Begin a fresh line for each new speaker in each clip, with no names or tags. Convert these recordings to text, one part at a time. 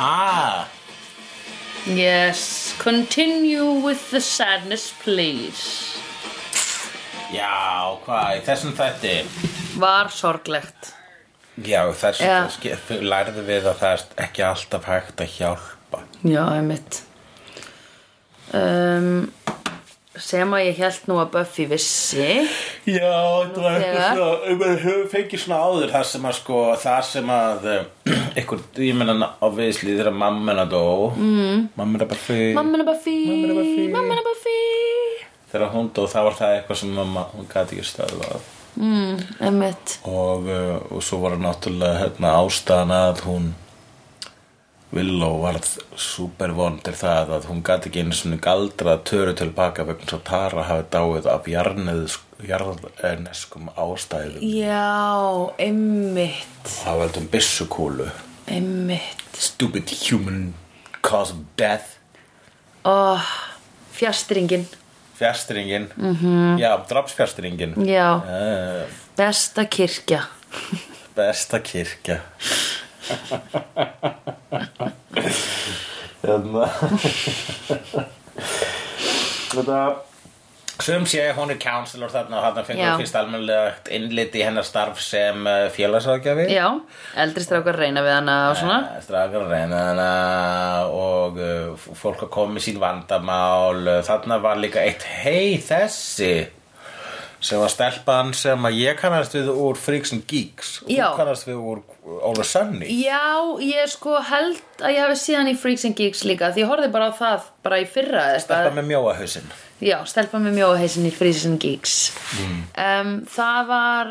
Ah,
Yes, continue with the sadness please
Já, hvað, í þessum þætti
Var sorglegt
Já, þessum
Já.
yeah. lærðu við að það er ekki alltaf hægt að hjálpa
Já, einmitt um, Sem að ég held nú að Buffy vissi
Já, þetta var
þegar.
eitthvað svona við höfum fengið svona áður það sem að sko, það sem að eitthvað, ég menna á viðsli þegar mamma hennar dó mm. mamma hennar bara fyrir
Mamma er Buffy
Mamma hennar Buffy.
Mamma hennar Buffy
þegar hún dó þá var það eitthvað sem mamma, hún gæti ekki stöðvað
mm, Einmitt
og, uh, og svo var náttúrulega hérna, ástæðan að hún Villó varð super vondir það að hún gat ekki einu svona galdra töru til baka vegna svo Tara hafi dáið af jarðneskum ástæðum
Já, einmitt
það var um byssukúlu
Einmitt
stupid human cause of death
oh, Fjastringin
fjastringin mm -hmm. já, drapsfjastringin
Já,
uh,
besta kirkja
besta kirkja hérna þetta Sum sé hún er counselor þarna og þarna fengur
Já.
við fyrst almennilegt innlit í hennar starf sem eh, félagsráðgjafi
Já, eldri strákar reyna við hana og svona
Eh, Strákar að reyna hana og eh, f- fólk að koma með sín vandamál þarna var líka eitt hei þessi sem var stelpan sem að ég kannast við úr Freaks and Geeks og
Já.
þú kannast við úr Óla Sunny
Já, ég sko held að ég hafi síðan í Freaks and Geeks líka því ég horfði bara á það bara í fyrra eða
Stelpa
eitthvað.
með mjóahausinn
Já, stelpa með mjóheisin í Freaks and Geeks mm. Það var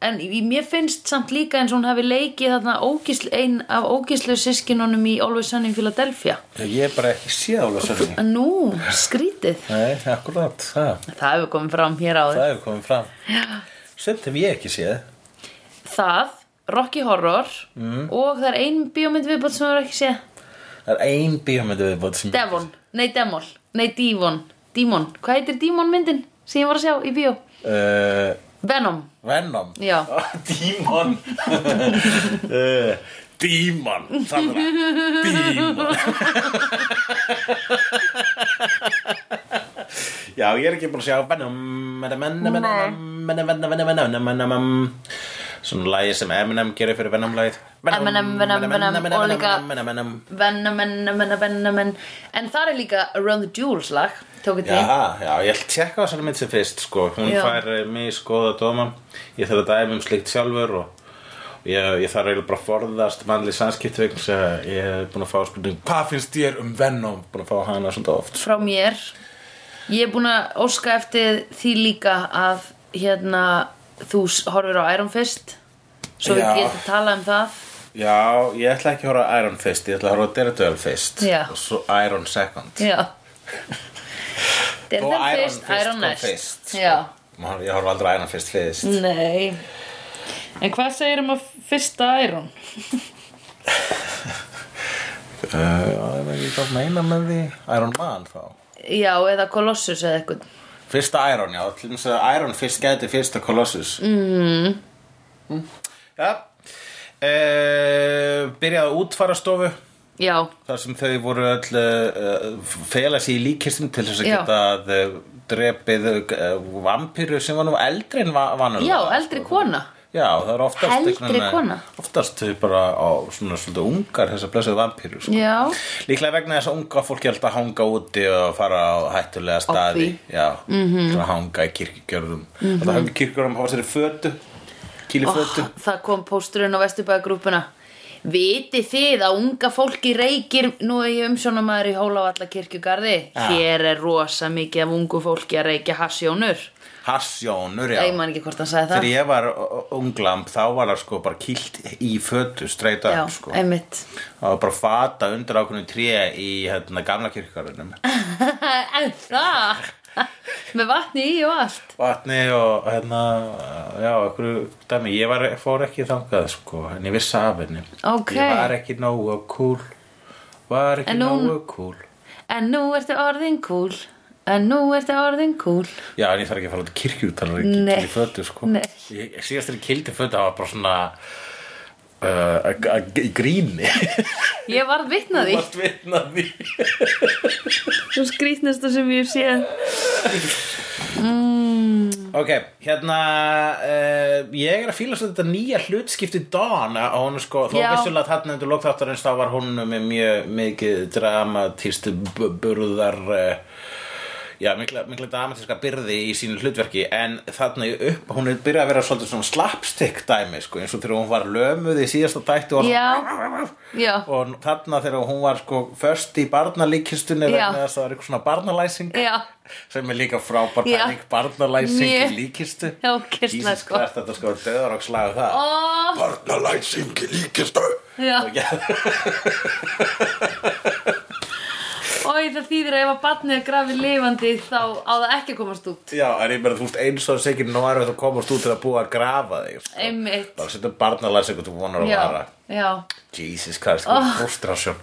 en í- mér finnst samt líka eins og hún hafi leikið þarna ógisl, ein af ógislu sískinunum í Always Sunny in Philadelphia
Ég er bara ekki séð Óla Sunny
En Nú, skrítið
Nei, akkurat, það,
Það hefur komið fram hér áður
það hefur komið fram Sumt hef ég ekki séð
Það, Rocky Horror
Mm.
og það er ein bíómynd viðbótt sem við ekki sé
Það er ein bíómyndu viðbót sem
Devon, nei Demol, nei Divon Dímon, hvað heitir Dímon myndin sem ég var að sjá í bíó?
uh,
Venom,
Venom Ah,
Já.
Dímon Eh, Dímon Sandra Dímon Já, ég er ekki búin að sjá Venom Venom, Venom, Venom, Venom, Venom, Venom, Venom Svona lagi sem Eminem gerir fyrir Venom-lagið
Eminem, Venom, Venom, og líka-
Venom, Venom
Venom, Venom, Venom, Venom Venom. En þar er líka Around the Jewels lag Tók ég til
Já, já, ég ætla að tjekka þessari mynd sem fyrst sko. hún
Já.
fær eh, mig skoða dóma ég þarf að dæmi um slíkt sjálfur og og ég, ég þarf eiginlega bara að forðast mannli sannskipti vegna þess að ég hef búin að fá spurning hvað finnst þér um Venom? búin að fá hana svona oft
frá mér Ég er búin að óska eftir því líka að hérna þú s- horfir á Iron Fist svo við
Já.
getum talað um það
Já, ég ætla ekki að horfa á Iron Fist ég ætla að horfa á Daredevil fyrst
Já.
og svo Iron Second
Já
Og
Daredevil
Iron
fyrst,
Fist
Iron
kom
Nest
fyrst, sko.
Já
Maður- ég horfa aldrei á Iron Fist fyrst
Nei En hvað segir um að fyrsta Iron?
uh, ég veit ekki hvað meina með því Iron Man þá
Já, eða Colossus eða eitthvað
Fyrsta Iron, já, til þess að Iron fyrst gæti fyrsta Colossus mm. Já uh, Byrjaði á útfarastofu
Já,
þar sem þau voru öll uh, fela sig í líkistum til þess að
Já.
geta uh, drepið uh, vampíru sem var nú eldri en va
já,
vanulega
eldri kona
Já, það er oftast
Eldri
einhvern veginn-
kona.
Oftast þau bara á svona svolítið ungar þessar blessuðu vampíru sko.
Já,
Líklega vegna þess að unga fólki held að hanga úti og fara á hættulega staði Já, mm
Mhm.
-hmm. hanga í kirkjörðum mm -hmm. Það hanga í kirkjörðum hafa sér í fötu Kýli
oh,
fötu
það kom pósturinn á Vesturbæðagrúpuna Vitið þið að unga fólki reykir Nú er ég umsjónamaður í Hólávalla kirkjugarði
Já.
Hér er rosa mikið af ungu fólki að reykja hassjónur
Hassjónur, já
Ég man ekki hvort hann sagði
Þegar
það
ég var unglamb þá var það sko bara kýlt í fötu streyta
Já,
upp sko
einmitt
Það var bara fata undir ákveðinu tré í hérna, gamla kirkjörðunum
En það Með vatni í og allt
Vatni og hérna, já, einhverju dæmi Ég var, fór ekki þangað sko, en ég vissi af henni
Ok.
Ég var ekki nógu cool Var ekki
En nú-
nógu cool
En nú ertu orðin kúl En nú ertu orðin kúl
Já, en ég þarf ekki að fara út í kirkju út þannig að ég
Nei.
kýldi fötu sko
Nei.
ég, Síðast þegar ég kýldi fötu það var bara svona uh, að- að- í gríni
Ég varð vitnaði
Vart vitnaði
Svo skrýtnasta sem ég sé
Ok, hérna uh, ég er að fíla svo þetta nýja hlutskipti Dawn að hún sko, þó
Já.
vissulega þarna undir lokþáttarins þá var hún með mjög mikið dramatíst burðar uh, já, mikla, mikla dramatíska byrði í sínu hlutverki en þarna í upp, hún er byrjað að vera svolítið svona slapstick dæmi sko, eins og þegar hún var lömuð í síðasta dætti og
Já, já
og þarna þegar hún var sko först í barnalíkistunni
Já.
vegna þess að það er eitthvað svona barnalæsing
Já.
sem er líka frábær
Já.
pæling barnalæsing
Mjög.
í líkistu
Já, ógeðslega,
Jesus
sko.
Christ, þetta sko döðar og slagur það
Ó,
barnalæsing í líkistu
já
Já.
Ói, það þýðir að ef að barnið er grafið lifandi þá á það ekki að komast út
Já, en ég meira þú veist eins og þess ekki nú er þetta komast út til að búa að grafa þig sko.
Einmitt
þá setur barnalæsing og þú vonar að
Já,
vara
já
Jesus Christ, oh. frustrasjón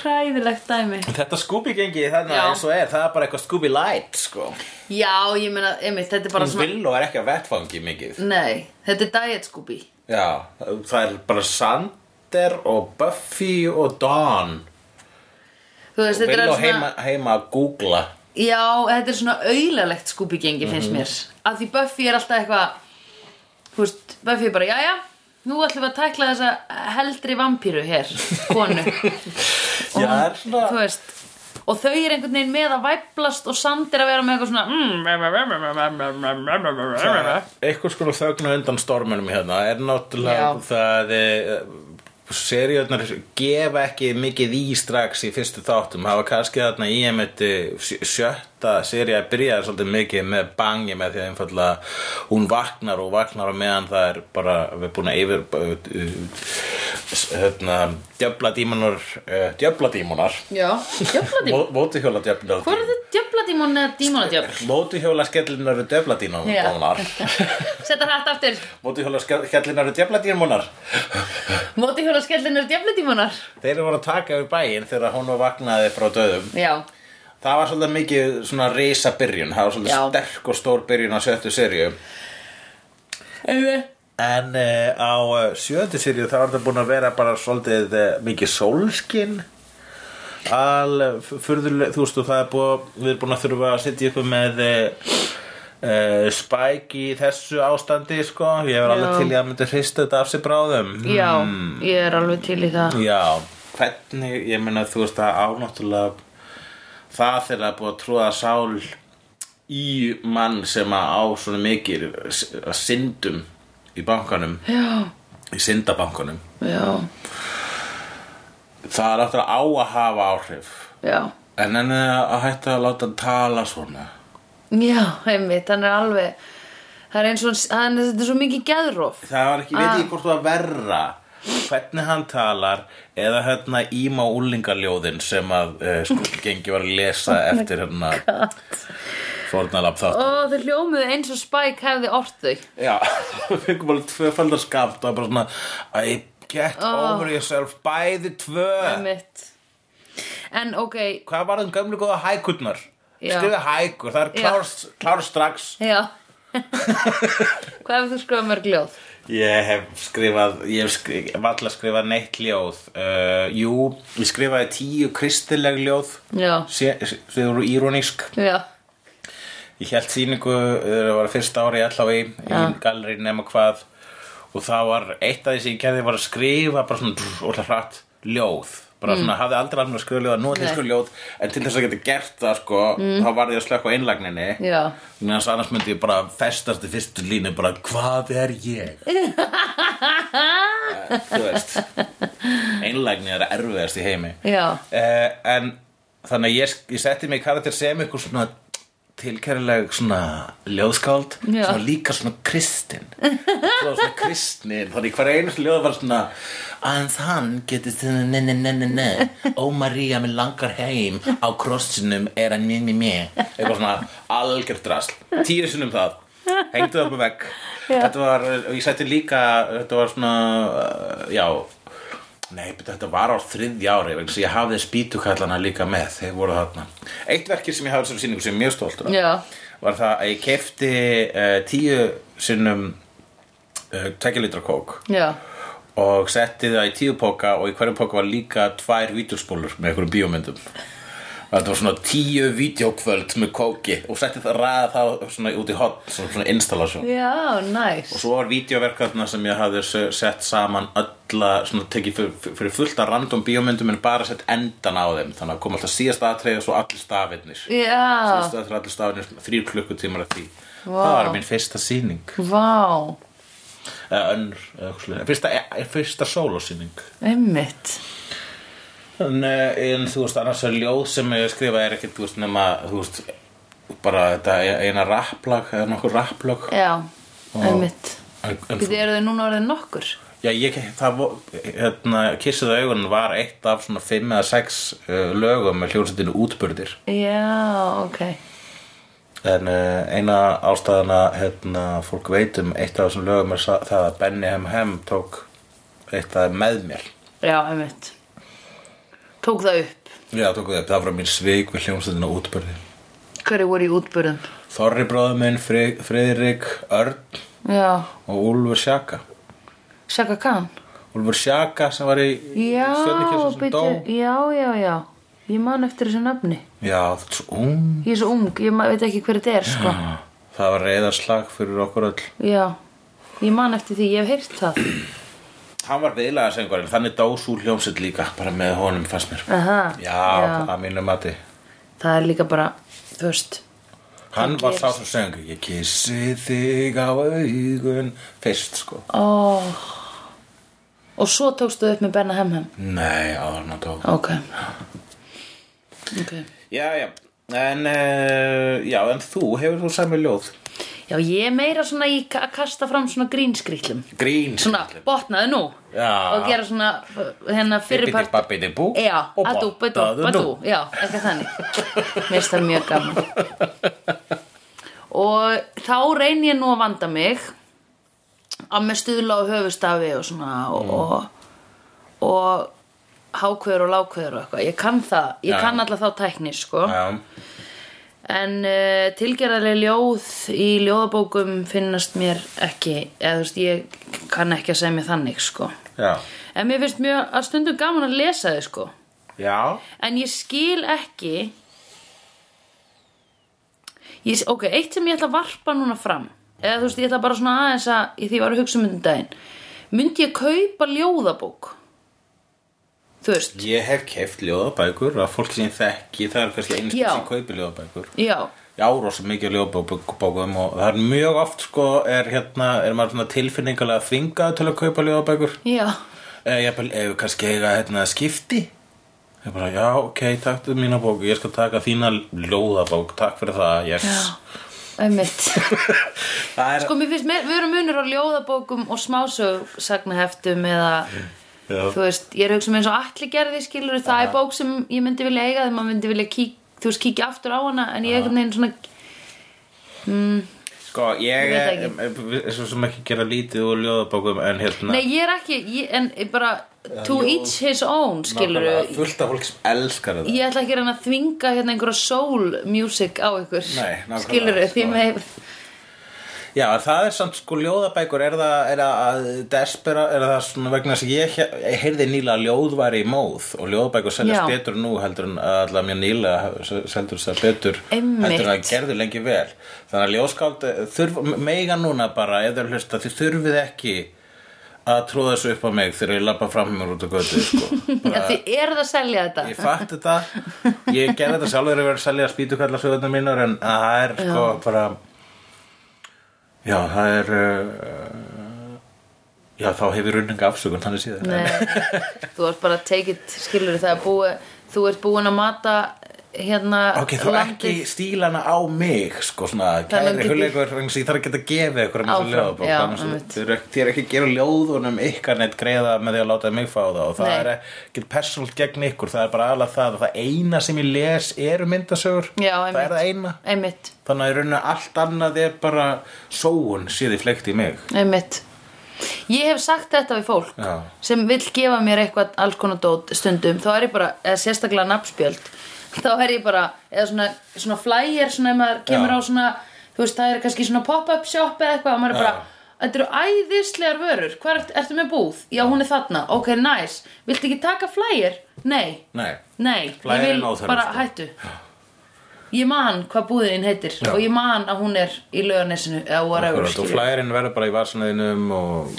Hræðilegt dæmi
Þetta Scooby gengi þannig
Já.
eins og er, það er bara eitthvað Scooby Light sko.
Já, ég meina, einmitt, þetta er bara svona
Villó er ekki á vettfangi mikið
Nei, þetta er Diet Scooby
Já, það er bara Sander og Buffy og Dawn
Þú veist, þetta
Vil
er
og
svona
heima, heima að googla
Já, þetta er svona auðalegt Scooby-gengi finnst
Mhm.
mér Af því Buffy er alltaf eitthvað Þú veist, Buffy er bara, jæja Nú ætlum við að tækla þessa heldri vampíru hér Konu
Já, það er svona
Þú veist Og þau er einhvern veginn með að væplast Og Sander að vera með eitthvað svona mm,
Eitthvað skona þögnu undan storminum hérna er náttúrulega
Já.
það seriðnar gefa ekki mikið í strax í fyrstu þáttum hafa kannski þarna í einmitt eh, sjö- sjötta serið að byrja svolítið mikið með bangi með því að einfallega hún vaknar og vaknar á meðan það er bara við erum búin að yfir eh, eh, hérna djöfladímunar uh, djöfladímunar
Já, djöfladímon
mótuhjóla
Hvor
djöfladímunar
er þetta djöfladímon eða dímonadjöfl?
mótuhjóla skellinar djöfladímunar
Setta hrætt aftur
Mótihjóla skellinar og djöfladýrmónar
Móti hjóla skellinur djöfladímonar
Þeir voru að taka yfir bæinn þegar hún var vaknaði frá döðum
Já,
Það var svolítið mikið svona risa byrjun Það var svolítið
Já.
sterk og stór byrjun á sjöttu serju
einmitt
En uh, á eh, sjöttu serju þá var þetta búin að vera bara svolítið uh, mikið sólskin Al, furðuleg, þú veist, og það er búið Við erum búin að þurfa að sitja ykkur með uh, uh, Spike í þessu ástandi, sko Ég er alveg
Já.
til í að myndi hrista þetta af sér bráðum Mm.
Já, ég er alveg til í það
Já, hvernig, ég meina þú veist að ánáttúrulega það þegar það er búið að tróða sál í mann sem að á svona mikið syndum í bankanum,
Já,
í syndabankanum
já,
það er aftur á að hafa áhrif
já
en en að hætta að láta hann tala svona
Já, einmitt, hann er alveg Það er eins og hann, þetta er svo mikið geðróf
það var ekki, veit ég hvort það var verra hvernig hann talar eða hérna íma úlingaljóðin sem að uh, sko gengi var að lesa eftir hérna fornalab þátt
Ó, þau hljómuðu eins og Spike hefði ort þau
Já, við fengum alveg tvöfaldar skamt og bara svona I get over yourself bæði tvö
Einmitt En ok,
Hvað var þeim gömlu góða hækurnar?
Já.
Skrifa hækur, það er
Já.
klár, klár strax
já Hvað hefur þú skrifað mörg ljóð?
Ég hef skrifað, ég hef skrifað, valla skrifað neitt ljóð uh, Jú, ég skrifaði tíu kristileg ljóð
Já,
Þau eru írónísk
já,
Ég held sýningu, uh, það var fyrsta ári allavega í, í
Já.
gallerí nema hvað og það var eitt af því sem ég gerði var að skrifa bara svona drr, ótrúlega hratt ljóð bara svona, hafði aldrei alveg að skrifa ljóð nú er
Mm. Nei. Mm.
því skrifa ljóð, en til þess að geta gert það sko, þá var ég að slökka á einlagninni
já
þannig að annars myndi ég bara festast í fyrstu línu, bara hvað er ég? Eh, Þú veist einlagnin er erfiðast í heimi
Já,
uh, en þannig að ég, ég setti mig í karakter sem eitthvað svona tilkærileg svona ljóðskáld
Já.
svona líka svona kristin svona svona kristnin þannig hver einu ljóð var svona aðeins hann getur þetta ne ne ne ne ne ó María mig langar heim á krossinum er hann mér mér mér eitthvað svona algjör drasl tíu sinnum það hengdu það upp að vegg
Já.
þetta var, og ég setti líka þetta var svona, uh, já Nei, betur, þetta var á þriðja ári vegna þess að ég hafði spýtukallana líka með þeir voru þarna. Eitt verkið sem ég hafði sem sýningu sem ég er mjög stoltur af
já,
eh, var það að ég kefti uh, tíu sinnum uh, tekilitra kók
já,
og setti það í tíu póka og í hverju póka var líka tvær vítjúspólur með einhverjum bíómyndum þetta var svona tíu vítjókvöld með kóki og setti það ræða það svona út í hot svona, svona installation
já, næs
og svo var vítjóverkarna sem ég hafði se- sett saman ölla, svona tekið fyrir, fyrir fullt að random bíómyndum en bara sett endan á þeim þannig að kom alltaf síðast aðtreyð og svo allir stafirnir
já,
síðast aðtreyð allir stafirnir, þrýr klukkutímar að því
Ah. Vá.
það var mín fyrsta sýning
vá
eða önnur, eða eitthvað svoleiðis. fyrsta, e- fyrsta sólosýning
einmitt
en, eh, en þú veist, annars er ljóð sem ég skrifa er ekkert, þú veist, nema þú veist, bara þetta e, eina rapplag, eða nokkur rapplag
já, einmitt
en, en,
Þið eru þau núna orðið nokkur
já, ég, það vo- hérna, kissið augun var eitt af svona fimm eða sex uh, lögum með hljómsveitinu útburðir
Já, ok
en uh, eina ástæðana hérna, fólk veit um eitt af þessum lögum er sa- það að Benny Hem Hem tók eitt af þeim með mér
Já, einmitt Tók það upp
já, tók þau upp, það var mín svik við hljómsveitinu útburðir
Hverju voru í útbörðum
Þorri bróður minn, Fri- Friðrik, Örn
Já,
og Úlfur Sjaka
Shaka Khan
Úlfur Sjaka sem var í
Já,
stjörnukjössum sem
bíddu,
dó
já, já, já Ég man eftir þessu nafni
Já, svo ung
Ég er svo ung, ég ma- veit ekki hver þetta er, sko
Það var reyðarslag fyrir okkur öll
Já, ég man eftir því, ég hef heyrt það
Hann var viðlega sengurinn, þannig dó svo hljómsett líka bara með honum fannst mér
Aha,
Já,
Já.
að mínu mati
Það er líka bara, þú veist
Hann var sá sem söng Ég kissi þig á augun Fyrst sko
Ó Og svo tókstu upp með Benna Hemhem
Nei, áður hann að dó
Ok Ok
Já, já, en, uh, já, en þú, hefur þú sami ljóð?
Já, ég er meira svona í ka- að kasta fram svona grínskrýtlum.
Grín
Svona, botnaðu nú.
Já.
Og gera svona, uh, hérna,
Fyrirpart
fyrirpart.
Babbidi bú
Já,
og
að dú, badú,
bottaðu
badú.
nú.
Já, eitthvað þannig. Mér finnst það mjög gaman. Og þá reyn ég nú að vanda mig að með stuðla á höfustafi og svona
Mm.
og, og, og hákveður og lákveður og eitthvað. Ég kann það, ég
Já.
kann alltaf þá tækni, sko.
Já,
En uh, tilgerðarlega ljóð í ljóðabókum finnast mér ekki, eða þú veist, ég kann ekki að segja mér þannig, sko.
já,
En mér finnst mjög að stundum gaman að lesa þau, sko.
já,
En ég skil ekki, ég, ok, eitt sem ég ætla að varpa núna fram, eða þú veist, ég ætla bara svona aðeins að, í því ég var að hugsa um myndum daginn, myndi ég kaupa ljóðabók? Þú veist,
ég hef keft ljóðabækur að fólk sem ég þekki, það er kannski einnig
Já.
sem kaupi ljóðabækur
já,
Já, rosa mikið af ljóðabókum og það er mjög oft sko er hérna, er maður svona tilfinningalega þvingað til að kaupa ljóðabækur
já,
eða jafnvel, ef kannski eiga hérna skipti ég bara, já, ok, takk til mína bók ég skal taka þína ljóðabók takk fyrir það, yes
einmitt.
það er,
Sko, mér finnst, mér- við erum munur á ljóðabókum og smásögsagnaheftum eða,
já,
þú veist, ég er að hugsa um eins og allir gerði, skilur, það er bók sem ég myndi vilja eiga, þegar maður myndi vilja kík, þú veist, kíkja aftur á hana, en ég einhvern veginn svona,
sko, ég
Ég
er,
veit
svo sem ekki gera lítið úr ljóðabókum en hérna
nei, ég er ekki, ég, en ég bara, to each his own, skilur,
Nákvæmlega, fullt af fólk sem elskar þetta
ég ætla ekki að reyna að þvinga hérna einhverja soul music á ykkur,
Nei, nákvæmlega,
skilur, því
sko.
með,
Já, en það er samt sko ljóðabækur er það, er það despera er það svona vegna þess að ég, he- ég heyrði nýla að ljóð væri í móð og ljóðabækur seljast
Já.
betur nú heldur en að allavega mjög nýla seldur það betur
Einmitt.
heldur en það gerðu lengi vel þannig að ljóðskáld eh, þurf, meiga núna bara ef þau hlusta þið þurfið ekki að tróða þessu upp á mig þegar ég labba fram mér út á götu sko.
já, því er það að selja þetta,
ég fatt þetta ég gerði þetta sjálfur að vera að selja spýtukallasögurnar mínar en að það er sko bara já það er uh, já þá hefur running afsökun þannig síðan En-
Nei, þú ert bara take it, skilur það er búið, þú ert búin að mata hérna
ok þú ekki stílana á mig sko svona
Þannig
kæri
getur-
hulegur þannig að ég þarf ekki að gefa ykkur um
Áfram,
þessu ljóðabók
já,
þannig að
einmitt.
þið eru ekki- þið eru ekki að gera ljóðunum ykkar neitt greiða með því að láta mig fá það og það
Nei.
er ekki persónult gegn ykkur það er bara alveg það að það eina sem ég les eru myndasögur
Já,
það
einmitt.
er það eina
Einmitt,
Þannig að í rauninni allt annað er bara sóun síði flekt í mig.
einmitt Ég hef sagt þetta við fólk
Já.
sem vill gefa mér eitthvað alls konar dót stundum, þá er ég bara, eða sérstaklega nafnspjöld, þá er ég bara eða svona, svona flyer, svona ef maður kemur
Já.
á svona, þú veist, það er kannski svona pop-up shop eða eitthvað og maður er bara, þetta eru æðislegar vörur Hvar ert, ertu með búð? Já, hún er þarna, ok, næs nice. Viltu ekki taka flyer? Nei,
Nei,
nei Ég
Flyer er
vil
nóg þörf,
bara
sko.
hættu Ég man hvað búðin heitir
Já.
og ég man að hún er í laugarnesinu eða whatever,
akkurat, og
skilur
flærin verður bara í varsnaðinum og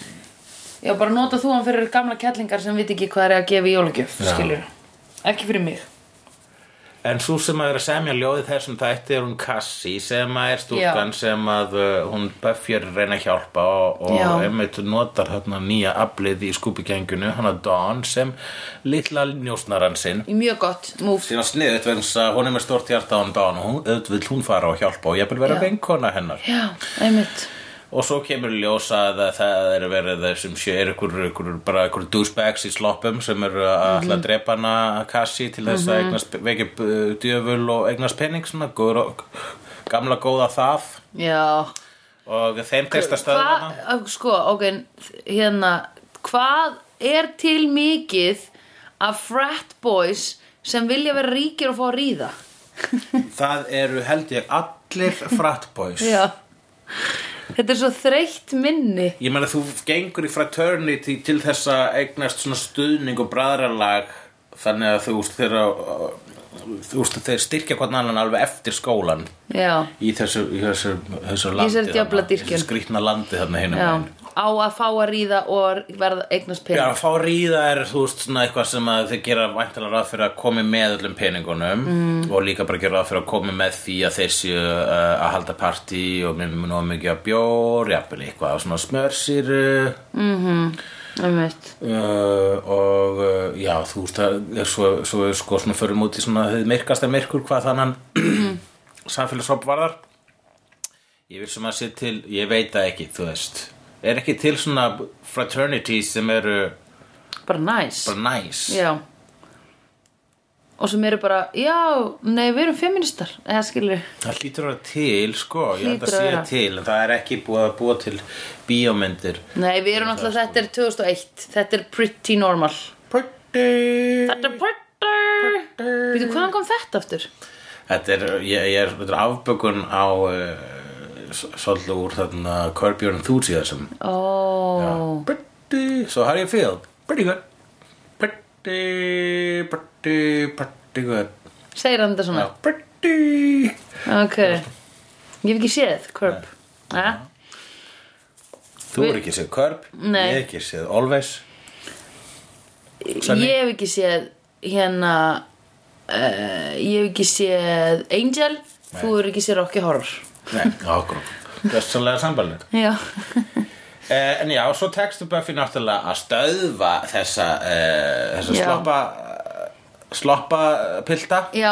Já, bara nota þú hann fyrir gamla kettlingar sem vit ekki hvað er að gefa í jólagjöf,
Já.
skilur Ekki fyrir mig
En svo sem að er að semja ljóðið þessum þætti er hún Kassi sem að er stúlkan sem að uh, hún Buffy er að reyna að hjálpa og, og
Já.
einmitt notar þarna nýja aflið í skúpigenginu, hann að Dawn sem litla njósnaran sinn.
Mjög gott, move
Síðan sniðut vegna þess að hún er með stort hjarta á hann Dawn og hún auðvitað vil hún fara og hjálpa og ég vil vera
Já.
vinkona hennar.
Já, einmitt
Og svo kemur í ljós að það er verið þessum sé er ykkur, ykkur, bara ykkur douchebags í sloppum sem eru að ætla að drepa hana kassi til þess að eignast vekja uh, djöful og eignast penning svona góður og gamla góða það
Já
og þeim testa
Hvað,
stöðuna
á, sko, ok, hérna, hvað er til mikið af frat boys sem vilja vera ríkir og fá að ríða?
Það eru held ég allir fratboys
Já. Þetta er svo þreytt minni.
Ég meina þú gengur í fraternity til þess að eignast svona stuðning og bræðralag þannig að þú úst þeirra þú úst þeir styrkja hvernig annan alveg eftir skólan
Já,
í þessu, í þessu, þessu landi
þessari
þarna,
djöfladýrkun.
þessu skrýtna landi þarna hinum
já.
megin.
Á að fá að ríða og verða eignast
Já,
pening.
að fá ríða er, þú veist, svona eitthvað sem að þeir gera væntalega ráð fyrir að komi með öllum peningunum
Mm.
og líka bara gera ráð fyrir að komi með því að þeir séu uh, að halda partí og mér mun of mikið að bjór, jafnvel eitthvað, svona smörsýru
Einmitt.
uh, og uh, já, þú veist, það er svo, svo, sko, svona förum út í svona þið myrkasta myrkur hvað þannan samfélagsop varðar. Ég vil sem að sé til, ég veit það ekki, þú veist. Er ekki til svona fraternities sem eru
Bara næs.
bara næs?
Já. Og sem eru bara, já, nei, við erum feministar, eða skilur.
Það hlýtur að vera til, sko, ég held að
Hlýtur að
sé
vera.
til, en það er ekki búið að búa til bíómyndir.
Nei, við erum alltaf, þetta er 2001, þetta er pretty normal.
Pretty!
Þetta er Potter Býtu, hvaðan kom þetta aftur?
Þetta er, ég, ég er, þetta er afbökun á uh, s- svolítið úr þarna Curb Your Enthusiasm.
Ó, oh,
Pretty, so how do you feel? Pretty good. Pretty, pretty, pretty good.
segir hann þetta svona
Já, Pretty!
Ok, ég hef ekki séð Curb ja.
Þú er ekki séð Curb,
Nei.
ég er ekki séð Always. Sunny.
Ég hef ekki séð hérna uh, Ég hef ekki séð Angel Þú hefur ekki séð Rocky Horror
Nei, ákvæm. Gjössanlega sambalnir.
Já,
Eh, en já, svo tekstu Buffy náttúrulega að stöðva þessa, eh, þessa
Já.
sloppa, sloppa pilda.
já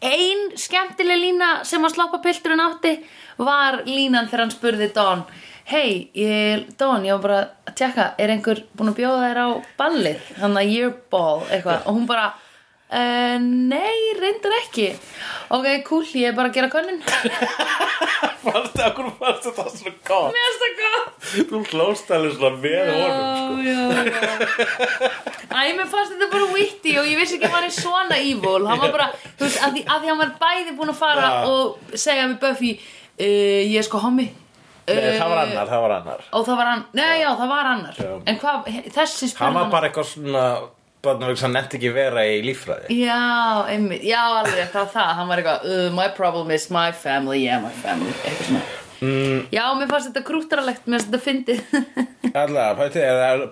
Ein skemmtileg lína sem að sloppa pilturinn átti var línan þegar hann spurði Don Hei, ég- Don, ég var bara að tjekka, er einhver búin að bjóða þér á ballið? Þannig að year ball, eitthvað Og hún bara, uh, nei, reyndar ekki Ok, cool, ég er bara að gera könnun Mér
Fannst það, hvernig fannst það svo gott?
finnst það gott
Þú hlóst alveg svona með sko.
Já, já, já. Æ, mér fannst þetta bara witty og ég vissi ekki að hann er svona evil Hann var bara, þú veist, að því, að því hann var bæði búin að fara
Já.
og segja við Buffy uh, Ég er sko hommi Eh,
Nei, Eh, það var annar, það var annar.
Og það var annar, nei, já, það var annar
Já.
En hvað, he- þessi spurði
Hann var bara eitthvað svona, bara hann nefndi ekki vera í líffræði.
Já, einmitt, já, alveg, það var það Hann var eitthvað, uh, my problem is my family, yeah, my family Eitthvað svona
Mm.
Já, mér fannst þetta krúttaralegt, mér fannst þetta fyndið
Alla, pæti,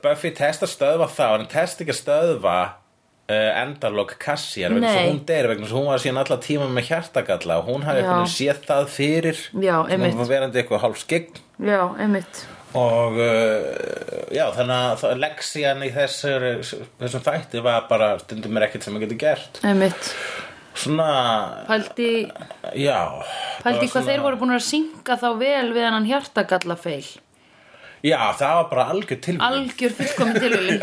Buffy testa stöðva þá, en testa ekki að stöðva uh, endarlok Cassiar vegna þess
Nei.
að hún deyr, vegna þess að hún var síðan alla tíma með hjartagalla og hún hafði
Já.
eitthvað séð það fyrir
Já,
Sem
einmitt.
hún var verandi eitthvað hálf skegg
Já, einmitt
og uh, já, þannig að leksían í þessur, þessum þætti var bara stundum er ekkert sem að geta gert
Einmitt
svona,
Pældi
já það
Pældi
var
hvað þeir voru búin að syngja þá vel við hennan hjartagallafeil
já, það var bara algjör tilvíð
Algjör fullkomin tilvílin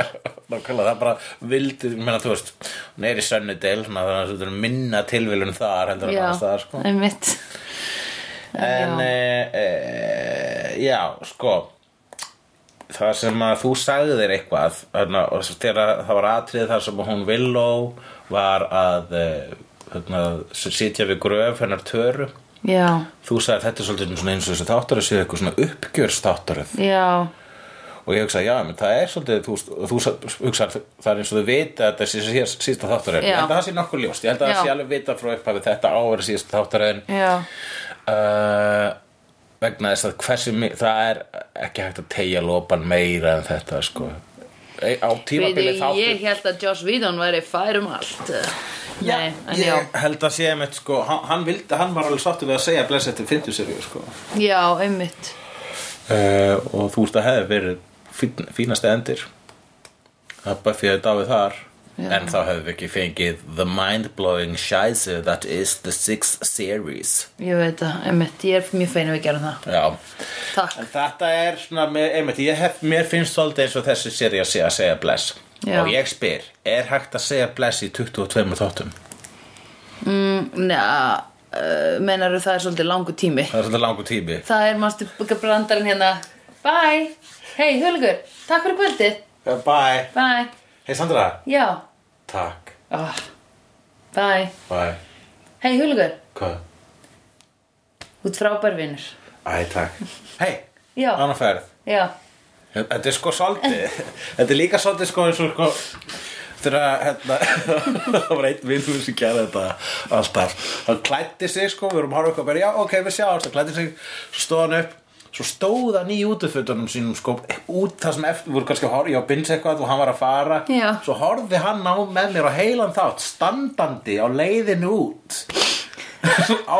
Nákvæmlega, það bara vildi, ég meina, þú veist, hún er í Sunnydale, svona, þannig að þetta er minna tilviljun þar heldur en
Já,
annars staðar, sko.
einmitt
En,
Já.
e, e, já, sko, það sem að þú sagði þér eitthvað, hérna, og svo þegar það var atrið þar sem hún Willow var að, eh, hérna, sitja við gröf hennar töru,
já,
Þú sagði þetta er svolítið svona eins og þessi þáttaröð séu eitthvað svona uppgjörstáttaröð
já,
og ég hugsaði, já, menn það er svolítið þú, þú hugsaði, það er eins og þau vita að þetta sé síðast- síðasta þáttaröðin
Já.
ég held að það sé nokkuð ljóst, ég held að
Já.
það sé alveg vita frá upphafi þetta á að vera síðasta þáttaröðin
já,
uh, vegna þess að hversu mi- það er ekki hægt að tegja lopan meira en þetta sko Ei, á tímabili
Bíddu,
þáttur
ég hérna- held að Joss Whedon væri fær um allt Nei, en já
ég held að sé einmitt sko, hann, hann, vildi, hann var alveg sáttur við að segja bless eftir 50 serið sko.
Já, einmitt
uh, og þú veist að hefði verið fín, fínasti endir að Buffy hefði dáið þar en þá hefði við ekki fengið the mind-blowing shizu that is the sixth series
Ég veit það, einmitt, ég er mjög fein að við gerum það
já
Takk,
En þetta er svona, mér, einmitt, ég hef, mér finnst svolítið eins og þessi séri að segja, segja bless
Já.
Og ég spyr, er hægt að segja bless í 22 þáttum?
Mm, neða uh, Meinaru það er svolítið langu tími
Það er svolítið langur tími
Það er mástu brandarinn hérna Bye, hei Hulgur, takk fyrir kvöldið
Bye,
Bye,
hei Sandra
já
Takk,
oh. Bye,
bye,
hei Hulgur,
hvað?
út frábær vinnur
Æ, takk Hei,
Já.
annar ferð
Já,
Þetta er sko svolítið Þetta er líka svolítið sko eins og sko Þegar að, hérna, það var einn vinnum sem gerði þetta alltaf Hann klæddi sig sko, við vorum að horfa okkur bara, já ok, við sjáum Það klæddi sig, svo stóð hann upp Svo stóð hann í útifötunum sínum sko Út það sem eftir, voru kannski að horfa, ég á bins eitthvað og hann var að fara
Já.
Svo horfði hann á með mér á heilan þátt Standandi á leiðinu út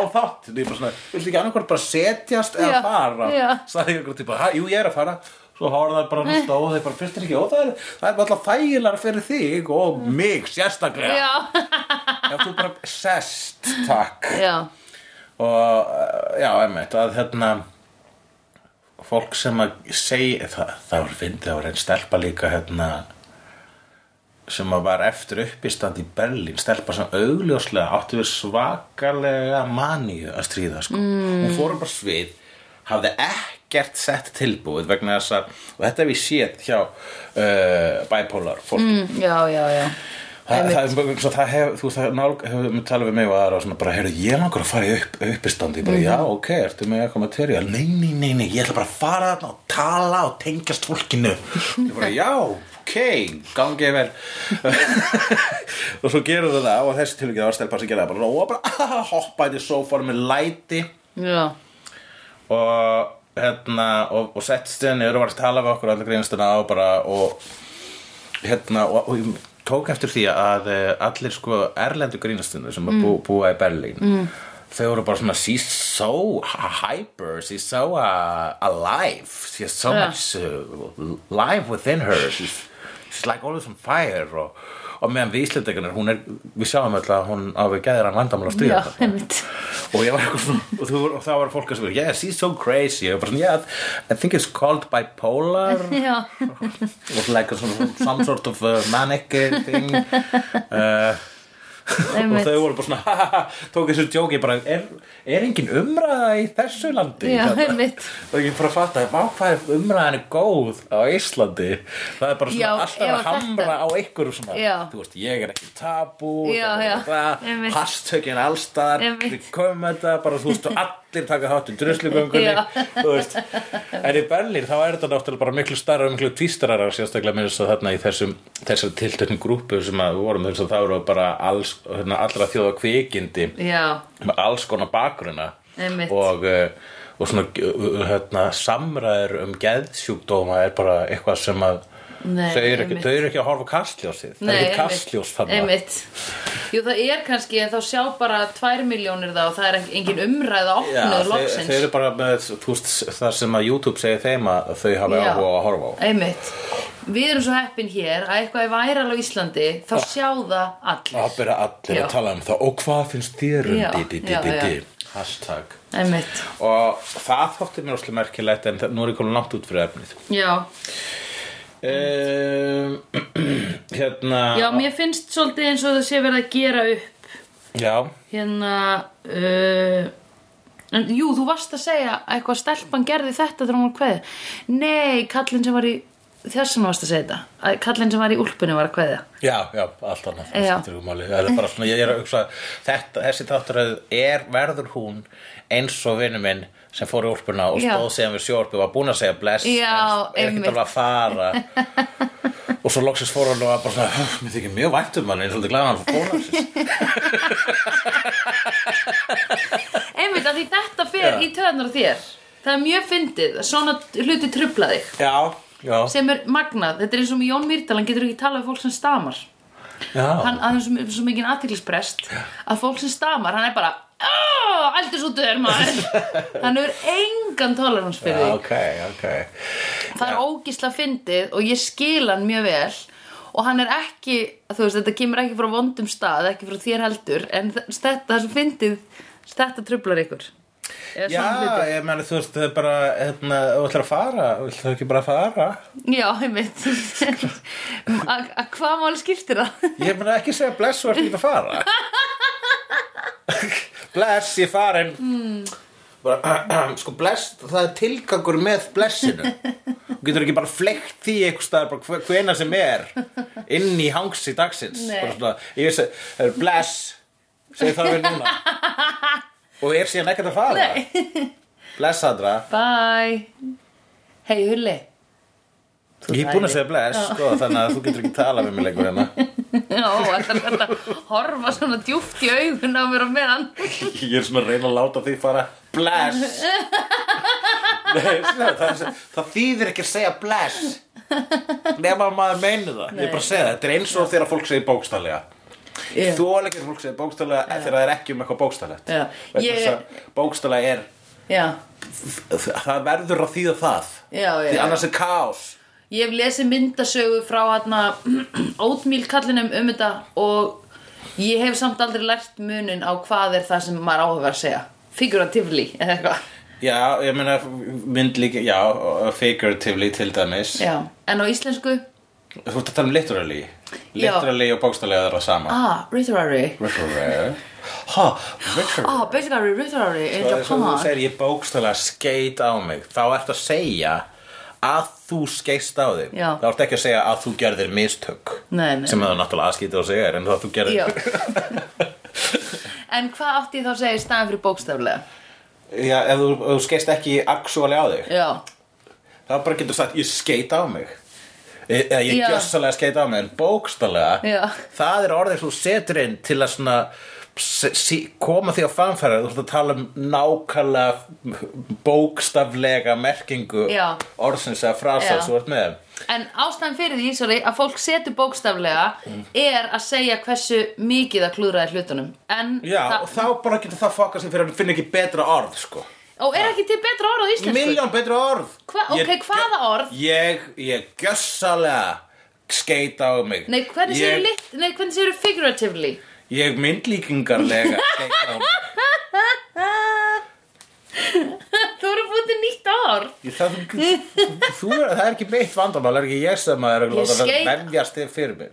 á þátt Ég bara svona, viltu ekki annarkvort bara setjast eða
Já,
fara
já.
sagði ég einhvern típa, "Ha, jú ég er að fara svo horfði það bara hann stóð þeir bara fyrst er ekki, ó það er, það er bara alltaf þægilega fyrir þig og mig sérstaklega
já,
ef þú bara sest, takk
já
og eh, já, emmitt, að hérna fólk sem að segja, það, það var fyndið það var einn stelpa líka hérna sem að var eftir uppistand í Berlín, stelpa sem augljóslega átti við svakalega maníu að stríða sko. mm. hún fór bara svið hafði ekkert sett tilbúið vegna þess að, og þetta hef ég séð hjá uh, bipolar fólki
Mm, Já, já, já
Þa, það, það, svo það hef, þú veist, það nálg, hefur talað við mig og aðra og svona bara, heyrðu, ég langar að fara í upp, uppistandi, ég bara, já, ok, ertu með eitthvað materiál, nei, nei, nei, nei, ég ætla bara að fara þarna og tala og tengjast fólkinu, ég bara, já, ok, gangið vel, og svo gerur það það og þessi tilvikið var stelpa sem gerði það bara, og bara, hoppaði í sófónu með læti,
Já,
og hérna og, og settist sér niður og var að tala við okkur allir grínstuna og bara og hérna og, og ég tók eftir því að eh, allir sko erlendu grínstuna sem mm. bú, búa í Berlín mm. þau voru bara svona she's so hyper, she's so uh, alive she has so
Ja.
much uh, life within her she's, she's like always on fire og, og meðan við Íslendingarnir hún er, við sjáum öll að hún á við gæðir hann vandamál að
já,
stríða þarna
einmitt
og ég var eitthvað svona og, þú, og þá var fólk að segja, yeah, she's so crazy og bara svona, yeah, I think it's called bipolar
Já,
or like a, some, some sort of uh, manic uh, thing uh, og
Einmitt.
þau voru bara svona "Ha, ha, ha," tók þessu djóki bara, er, er engin umræða í þessu landi
Já,
Hérna.
einmitt.
og ég bara fatt að hvað er umræðan er góð á Íslandi það er bara svona
Já,
alltaf
ef
að
að
hamra
þetta-
á einhverju svona
Já.
þú veist, ég er ekki tabú
Já,
það er
já,
það,
einmitt.
hastökin allstaðar
Einmitt.
við komum þetta bara, þú veist, og allir taka þátt í druslugöngunni
Já.
þú veist. en í Berlín þá er þetta náttúrulega bara miklu starra og miklu tvístarara sérstaklega með þess að þarna í þessum þessar tiltöknum grúpu sem að við vorum þess að það eru bara alls, hérna, allra þjóða kvikindi
já,
með alls konar bakgrunna
Einmitt.
og, eh, og svona eh, hérna, samræður um geðsjúkdóma er bara eitthvað sem að
Nei,
þau, eru ekki,
einmitt.
þau eru ekki að horfa á kastljósið það
Nei,
er ekki
einmitt.
kastljós þarna
Einmitt. Jú, það er kannski en þá sjá bara tvær miljónir það og það er ekki- engin umræða
Já,
opnuð
þau,
loksins
þau eru bara með þú veist, það sem að YouTube segir þeim að þau hafa
Já.
áhuga á að horfa á
Einmitt. Við erum svo heppin hér að eitthvað er væral á Íslandi þá
Ah.
sjá það allir
Það byrja allir
Já.
að tala um það og hvað finnst þér um
Já,
di, di, di,
já,
di,
já.
di. Hashtag
Einmitt.
Og það þótti mér óslega merkilegt en það, nú er ég komin langt út fyrir efnið
Já.
um, Hérna
Já, mér finnst svolítið eins og það sé verið að gera upp
Já,
hérna uh, en, Jú, þú varst að segja að eitthvað stelpan gerði þetta þegar hún var kveð Nei, kallinn sem var í þess vegna varst að segja þetta að kallinn sem var í úlpunni var að kveðja
Já, já, allt annað það
Já.
skiptir ekki máli. Það er bara svona, ég er að hugsa þetta, þessi þáttaröð er, verður hún eins og vinnu minn sem fór í úlpuna og
Já.
stóð síðan við sjóorpi var búin að segja bless
Já,
en er ekkert
einmitt.
alveg að fara og svo loksins fór hann og var bara svona "Ugh, mér þykir mjög vænt um hann, ég er svolítið glæðan hann fór hann
einmitt að því þetta fer
Já.
í töðanar þér það er mjög fyndið, að svona hluti trubla þig
Já, já,
sem er magnað, þetta er eins og með Jón Mýrdal hann getur ekki talað við fólk sem stamar
já
hann að hann er svo, svo mikið aðtiklisprest að fólk sem stamar, hann er bara "Ah, aldur svo döður maður hann er engan tolerans
Já,
fyrir því
ok, ok
það er ógísla fyndið og ég skil hann mjög vel og hann er ekki, þú veist, þetta kemur ekki frá vondum stað, ekki frá þér heldur en þ- þetta, það sem fyndið þetta trublar ykkur Eða
Já,
svona hlutir.
ég meni, þú veist, það er bara, hérna, þú ætlar að fara, viltu ekki bara fara?
já, einmitt að að hvað máli skiptir það?
Ég mun ekki segja bless og ert ekki að fara Bless, ég er farin mm. bara, Sko bless, það er tilgangur með blessinu Þú getur ekki bara fleikt því einhvers staðar bara hve- hvenær sem er inn í hangsi dagsins
Nei.
Bara svona, Ég veist að bless segi það við núna og er síðan ekkert að fara
Nei.
Bless aðra
bye hei Hulli Þú
Ég er búin að
þægir.
segja bless sko, þannig að þú getur ekki talað við mig lengur hérna
já, þetta er þetta horfa svona djúpt í augun á mér á meðan
Ég er svona að reyna að láta því fara Bless Nei, svona, það, það þýðir ekki að segja bless Nefn að maður meini það Ég er bara að segja það, þetta er eins og þegar fólk segir bókstallega
Já.
Þú alveg er fólk segir bókstallega þegar það er ekki um eitthvað bókstalegt
Já. Ég-
Bókstallega er
já
Það verður að þýða það
Já, já,
Því
já.
annars er kaos
Ég hef lesið myndasögu frá hérna ótmílkallinum um þetta og ég hef samt aldrei lært munin á hvað er það sem maður á að vera að segja. Figuratively eða eitthvað.
Já, ég meina mynd líka, já, figuratively til dæmis
Já. En á íslensku?
Þú ert að tala um literally
Já.
Literally og bókstallega er það sama
Ah, literary.
Literary Ha, literary
Ah, basically literary in
Það er svo þú
Japan.
segir ég bókstælega skeit á mig þá ert að segja að þú skeist á þig
Já.
þá ert ekki að segja að þú gerðir mistök
Nei, nei.
sem það er náttúrulega aðskítið að segja er, en það þú gerðir
Já. en hvað átti ég þá að segja í staðan fyrir bókstaflega?
Já, ef þú, ef þú skeist ekki actually á þig
Já.
þá bara getur sagt ég skeit á mig E- eða ég
Já.
gjössalega skeit á mig en bókstælega
Já.
það er orðið sem þú setur inn til að svona s- sí- koma því á fanfæra þú ert að tala um nákvæmlega bókstaflega merkingu
Já.
orðsins eða frasa
Já.
sem þú ert með
En ástæðan fyrir því, sorry, að fólk setur bókstaflega
Mm.
er að segja hversu mikið að klúðraði hlutunum. En
Já, og þá bara getur það fokkað sem fyrir að finna ekki betra orð, sko.
Og er ekki til betra orð á íslensku?
Miljón betra orð.
Hva- ok, hvaða orð?
Ég, ég gjössalega skeit á mig.
Nei, hvernig
Ég-
séu lit... Nei, hvernig séu figuratively?
Ég myndlíkingarlega skeit á mig. Ah.
Þú eru búin til nýtt orð.
Ég- Það, þú, er, það er ekki beitt vandamál, er ekki ég sem að er að
Ég
láta það
skeit-
venjast þig fyrir mér.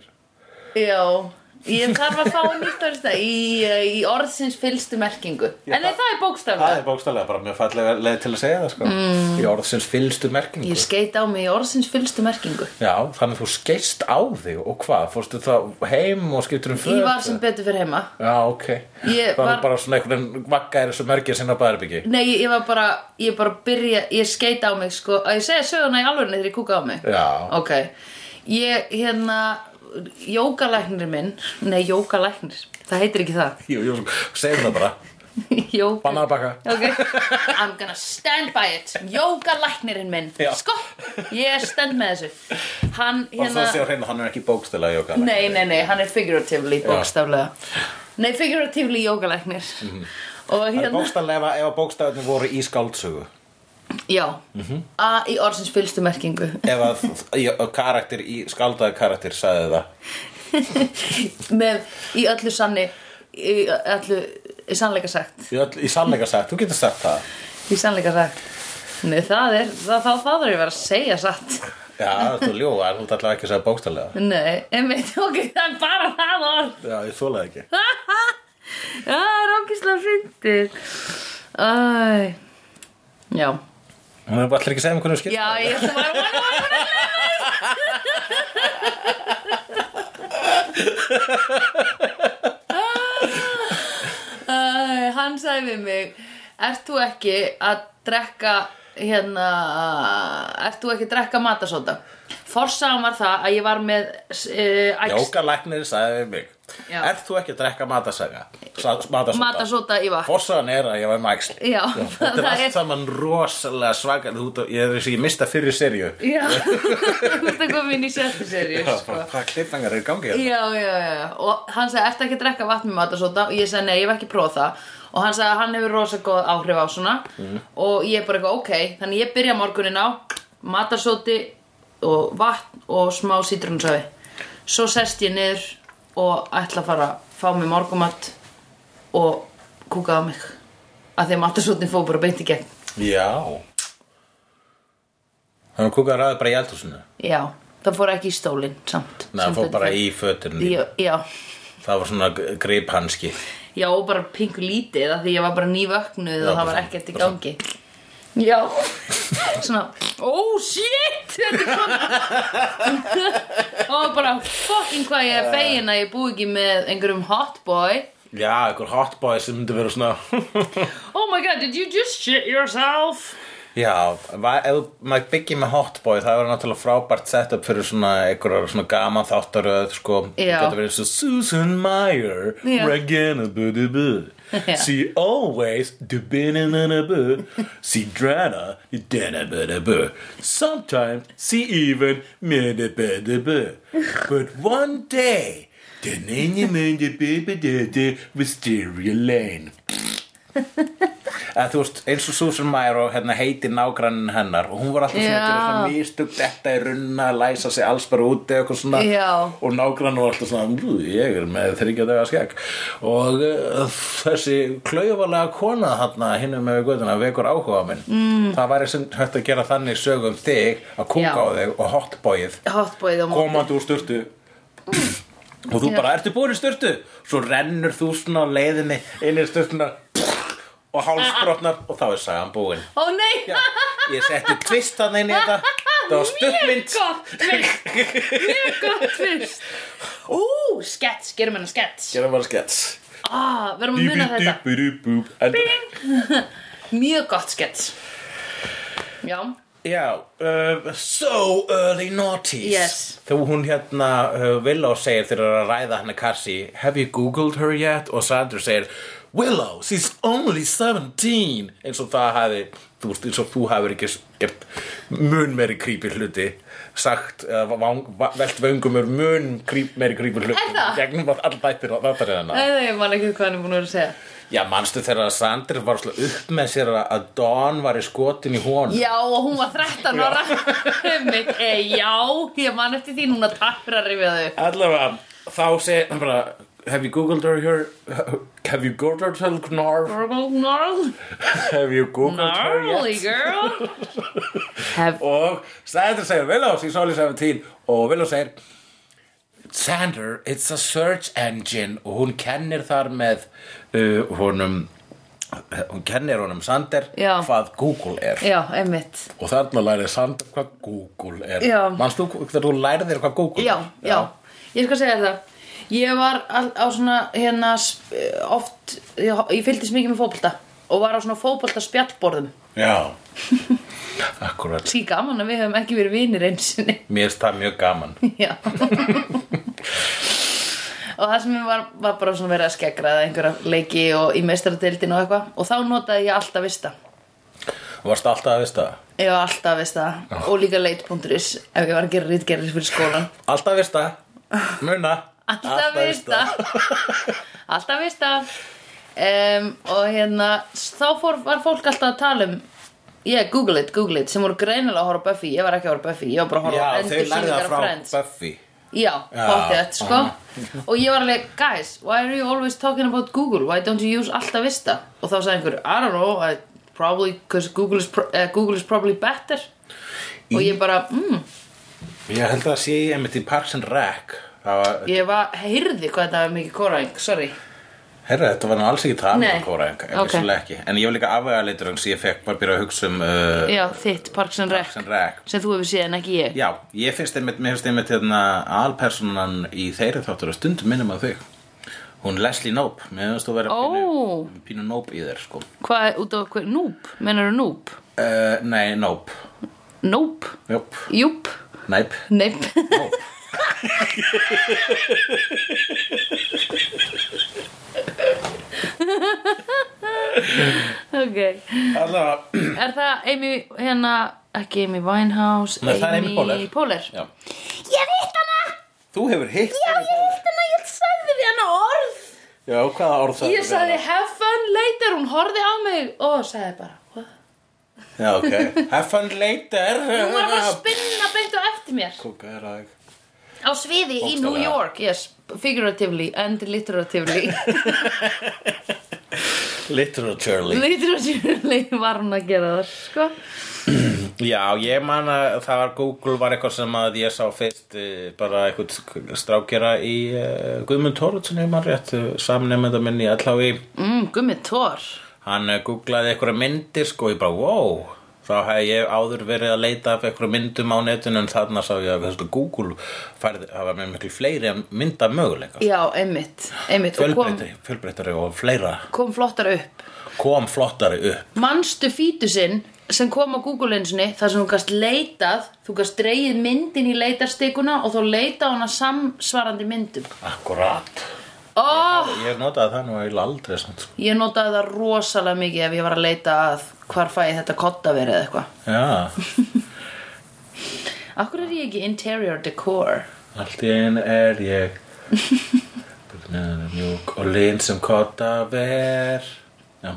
Já. Ég þarf að fá nýtt orð í, eh, í orðsins fylstu merkingu.
Já,
en nei,
það-
það er
Það
bókstaflega.
er bókstælega bara mjög fallega leið til að segja það, sko. Mm. Í orðsins fylstu merkingu.
Ég skeit á mig í orðsins fylstu merkingu.
Já, þannig að þú skeist á þig og hvað? Fórstu þá heim og skiptur um föt?
Ég var sem betur fyrir heima.
Já, ok. Þannig
Ég
var...
var-
bara svona einhvern veginn vagga er þessu merkja sinna bæðarbyggi.
Nei, ég, ég var bara, ég bara byrja, ég skeit á mig, sko. Að ég segja söguna í alvegni þegar ég kúka á mig.
Já.
Ok, ég, hérna, jókalæknir minn, nei, jókalæknir, það heitir ekki það.
Jú, jú, segjum það bara.
Jóka
Bannaða baka.
Ok, I'm gonna stand by it Jóka læknirinn minn
Já.
Sko, ég stend með þessu Hann
Og það sé
hérna
á hreinu, hann er ekki bókstila í okkar.
Nei, nei, nei, hann er figuratively bókstaflega Nei, figuratively jókalæknir
Mhm.
Og
Það er
hérna
bókstala ef, ef bókstafnir voru í skáldsögu.
Já,
Mhm.
a í orðsins fylstu merkingu
Ef að í- karakter í, skáldaði karakter sagði það.
Með í öllu sanni Í öllu, í sannleika sagt
Í, öll, í sannleika sagt, þú getur sagt það.
Í sannleika sagt Nei, það er, það, þá, þá þarf ég að vera að segja satt
Já, þú ljóðar, þú ert allavega ekki að segja bókstalega.
Nei, einmitt, ok, það er bara það orð
Já, ég þólaði ekki.
Já, það er ógislega fyndið Æ Já
Hún er bara allir ekki að segja mig hvernig þú skilt.
Já, ég ætla bara Æ, hann sagði við mig ert þú ekki að drekka hérna ert þú ekki að drekka matasóta forsaðum var það að ég var með uh,
Jókalæknir sagði við mig
Já.
Ert þú ekki að drekka matasaga? Sa- Matasóta
matasóta í vatn
Fossaðan er að ég var með æxl
Já,
Þetta er
það
allt
er-
saman rosalega svakar Ég er þess að ég mista fyrir serju
já, þetta kom inn í sjöttu serið sko.
Hvað klippangar er gangið?
já, já, já, og hann sagði ertu ekki að drekka vatn með matasóta og ég sagði nei, ég hef ekki prófað það og hann sagði að hann hefur rosa góð áhrif á svona
Mhm.
og ég er bara eitthvað ok þannig ég byrja morgunin á matasóti og vatn og smá sítrunasafi svo sest ég niður og ætla að fara að fá mig morgumat og kúka á mig að því að matasótin fóð bara beint í gegn
Já Hann kúkaði ræði bara í eldhúsinu
já, það fór ekki í stólinn samt
Nei, hann
Sem
fór
betur
bara
fer.
í fötun
já, já
Það var svona greiphanski
Já, og bara pingu lítið af því ég var bara
Já,
nývöknuð og það var
bara
ekkert í
svona-
gangi Já Svona, oh shit Þetta kom Og bara, fucking hvað ég er
Eh.
fegin að ég búi ekki með einhverjum hotboy
Já, einhver hotboy sem myndi vera svona
Oh my god, did you just shit yourself?
Já, va- ef maður byggir með hotboy það verður náttúrulega frábært setup fyrir svona einhverjar svona gaman þáttaröð sko,
Já.
getur verið svo Susan Meyer
Já.
Regina bu-du-bu
Já.
She always du-bi-na-na-na-bu She drana dana-bu-du-bu Sometimes she even mini-bu-du-bu But one day da-na-na-na-na-bu-bu-du-du Wisteria Lane að þú veist, eins og Susan Meyer og hérna heiti nágrannin hennar og hún var alltaf svona
Já.
að gera svona mistug þetta er runna, læsa sig alls bara úti og eitthvað svona,
Já.
og nágrannin var alltaf svona "Ú, ég er með þryggja daga skegg og uh, þessi klaufalega kona þarna hinnum með göðuna vekur áhuga minn mm. það væri sem hægt að gera þannig sögum þig að
Já.
kúka á þig og hotboyið
Hotboyð og móti
komandi úr styrtu og þú bara, ertu búin í styrtu svo rennur þú svona á leiðinni inn í styrtuna og hálsbrotnar og þá er sagan búin
Ó nei
Já, ég setti tvist þannig inn í þetta það var
Mjög
stuttmynd
gott fyrst Mjög gott fyrst Ú, skets, gerum hennar skets
gera bara skets
ah, Verðum að muna þetta
Bing
Mjög gott skets Já
Já, uh, so early noughties
Yes.
Þegar hún hérna uh, Willow segir þegar hún er að ræða hana Cassie Have you googled her yet? Og Sandra segir Willow, she's only 17 eins og það hafi þú veist, eins og þú hafir ekki gert mun meiri creepy hluti sagt, uh, vang, va- velt vöngum er mun creep, meiri creepy
Er
hluti
það? Eh.
gegnum all þættir og þáttar hérna
Nei, nei, ég man ekki hvað hann er búin að vera að segja
Já, manstu þegar að Sandra var slá upp með sér að- að Dawn var í skotin í honum
Já, og hún var 13 ára Einmitt, e, Já, ég man eftir því núna tapra rifja þau
Allavega, þá segir hann bara Have you googled her here? Have you googled her Gnar? Have you googled her yet?
Gnarly girl Hef,
Og Sander segir Willow, she's only 17 Og Willow segir Sander, it's a search engine Og hún kennir þar með uh, honum Hún kennir honum Sander
Já.
hvað Google er
Já, einmitt
Og þarna lærið Sander hvað Google er
Já.
Manstu þegar þú lærið þér hvað Google
já,
er?
já, ég skal segja það ég var á, á svona hérna sp- oft, ég, ég fylgdist mikið með fótbolta og var á svona fótbolta spjallborðum
Já, akkurat
Sý gaman að við höfum ekki verið vinir einsinni
Mér finnst það mjög gaman
Já Og það sem ég var, var bara svona verið að skeggraða einhverja leiki og í meistaradeildin og eitthvað og þá notaði ég alltaf vista
Varst alltaf að vista?
Ég var alltaf vista og líka leit.is ef ég var að gera rítgerðis fyrir skólan
Alltaf vista Muna
Alltaf vista Alltaf vista um, Og hérna Þá fór, var fólk alltaf að tala um Yeah, Google it, Google it Sem voru greinilega að horfa á Buffy Ég var ekki að horfa á Buffy Ég var bara að horfa á
Já, þau lærðu
endursýningar
það
af
frá
Friends
Buffy
Já,
Já,
pottet, sko Og ég var alveg, guys, why are you always talking about Google? Why don't you use alltaf vista? Og þá sagði einhver, I don't know I Probably, because Google, is pro- eh, Google is probably better Og ég bara, mm,
Ég held að það sé ég einmitt í Parks and Rec Það var
ég var, heyrði hvað þetta var mikið kóraðing, sorry
Herra, þetta var nú alls ekki það
Nei.
kóraðing, en
Ok.
vissulega ekki. En ég var líka afvegaleitur sem ég fekk var byrjað að hugsa um uh,
Já, þitt Parks and Rec
sem rek.
sem þú hefur séð en ekki ég
Já, ég finnst einmitt, mér finnst einmitt hérna alpersonan í þeirri þáttur og stundum minnum að þau. Hún Leslie Knope, mér finnst þú vera
Ó.
pínu, pínu Knope í þér, sko.
Hvað er út á hver? Noob? Menar þú Noob?
Uh, nei, Knope.
Nope?
Júp,
Júp?
næp.
Neip?
Knope.
ok
Alla,
Er það Amy, hérna, ekki Amy Winehouse
Nei, það er Amy Poehler. já.
Ég veit hana!
Þú hefur hitt.
Já, ég veit hana, ég sagði við hana orð
Já, hvaða orð það
Ég sagði have fun later, hún horfði á mig og sagði bara "What?"
Já, ok. Have fun later.
Hún var að fara að spinna beint á eftir mér
Kúkaður að þig.
Á sviði í
Bókstaflega.
New York, yes Figuratively and literatively
Literaturely.
Literatively var hún að gera það, sko
Já, ég man að það var Google var eitthvað sem að ég sá fyrst eh, bara eitthvað strákjara í uh, Guðmund Tóruðsson hefur maður rétt samnefnda minn í allavega
Mm, gummi tór
hann eh, googlaði eitthvað myndir sko ég bara wow þá hef ég áður verið að leita af eitthvað myndum á netinu en þarna sá ég að þessu Google færði, það var með miklu fleiri mynda möguleika
Já, einmitt, einmitt Og kom,
fjölbreytari, fjölbreytari og fleira
kom flottar upp
kom flottari upp
Manstu fítusinn sem kom á Google einsinni þar sem þú gast leitað þú gast dreigið myndin í leitarstikuna og þá leita hana samsvarandi myndum
Akkurat
oh,
Ég notaði það nú eiginlega aldrei samt sko.
Ég notaði það rosalega mikið ef ég var að leita að hvar fæ ég þetta kottaverið eða eitthvað
Já
Akkur er ég ekki interior decor
Allt í einu er ég Bugnaður mjúk og linn sem kotta ver Já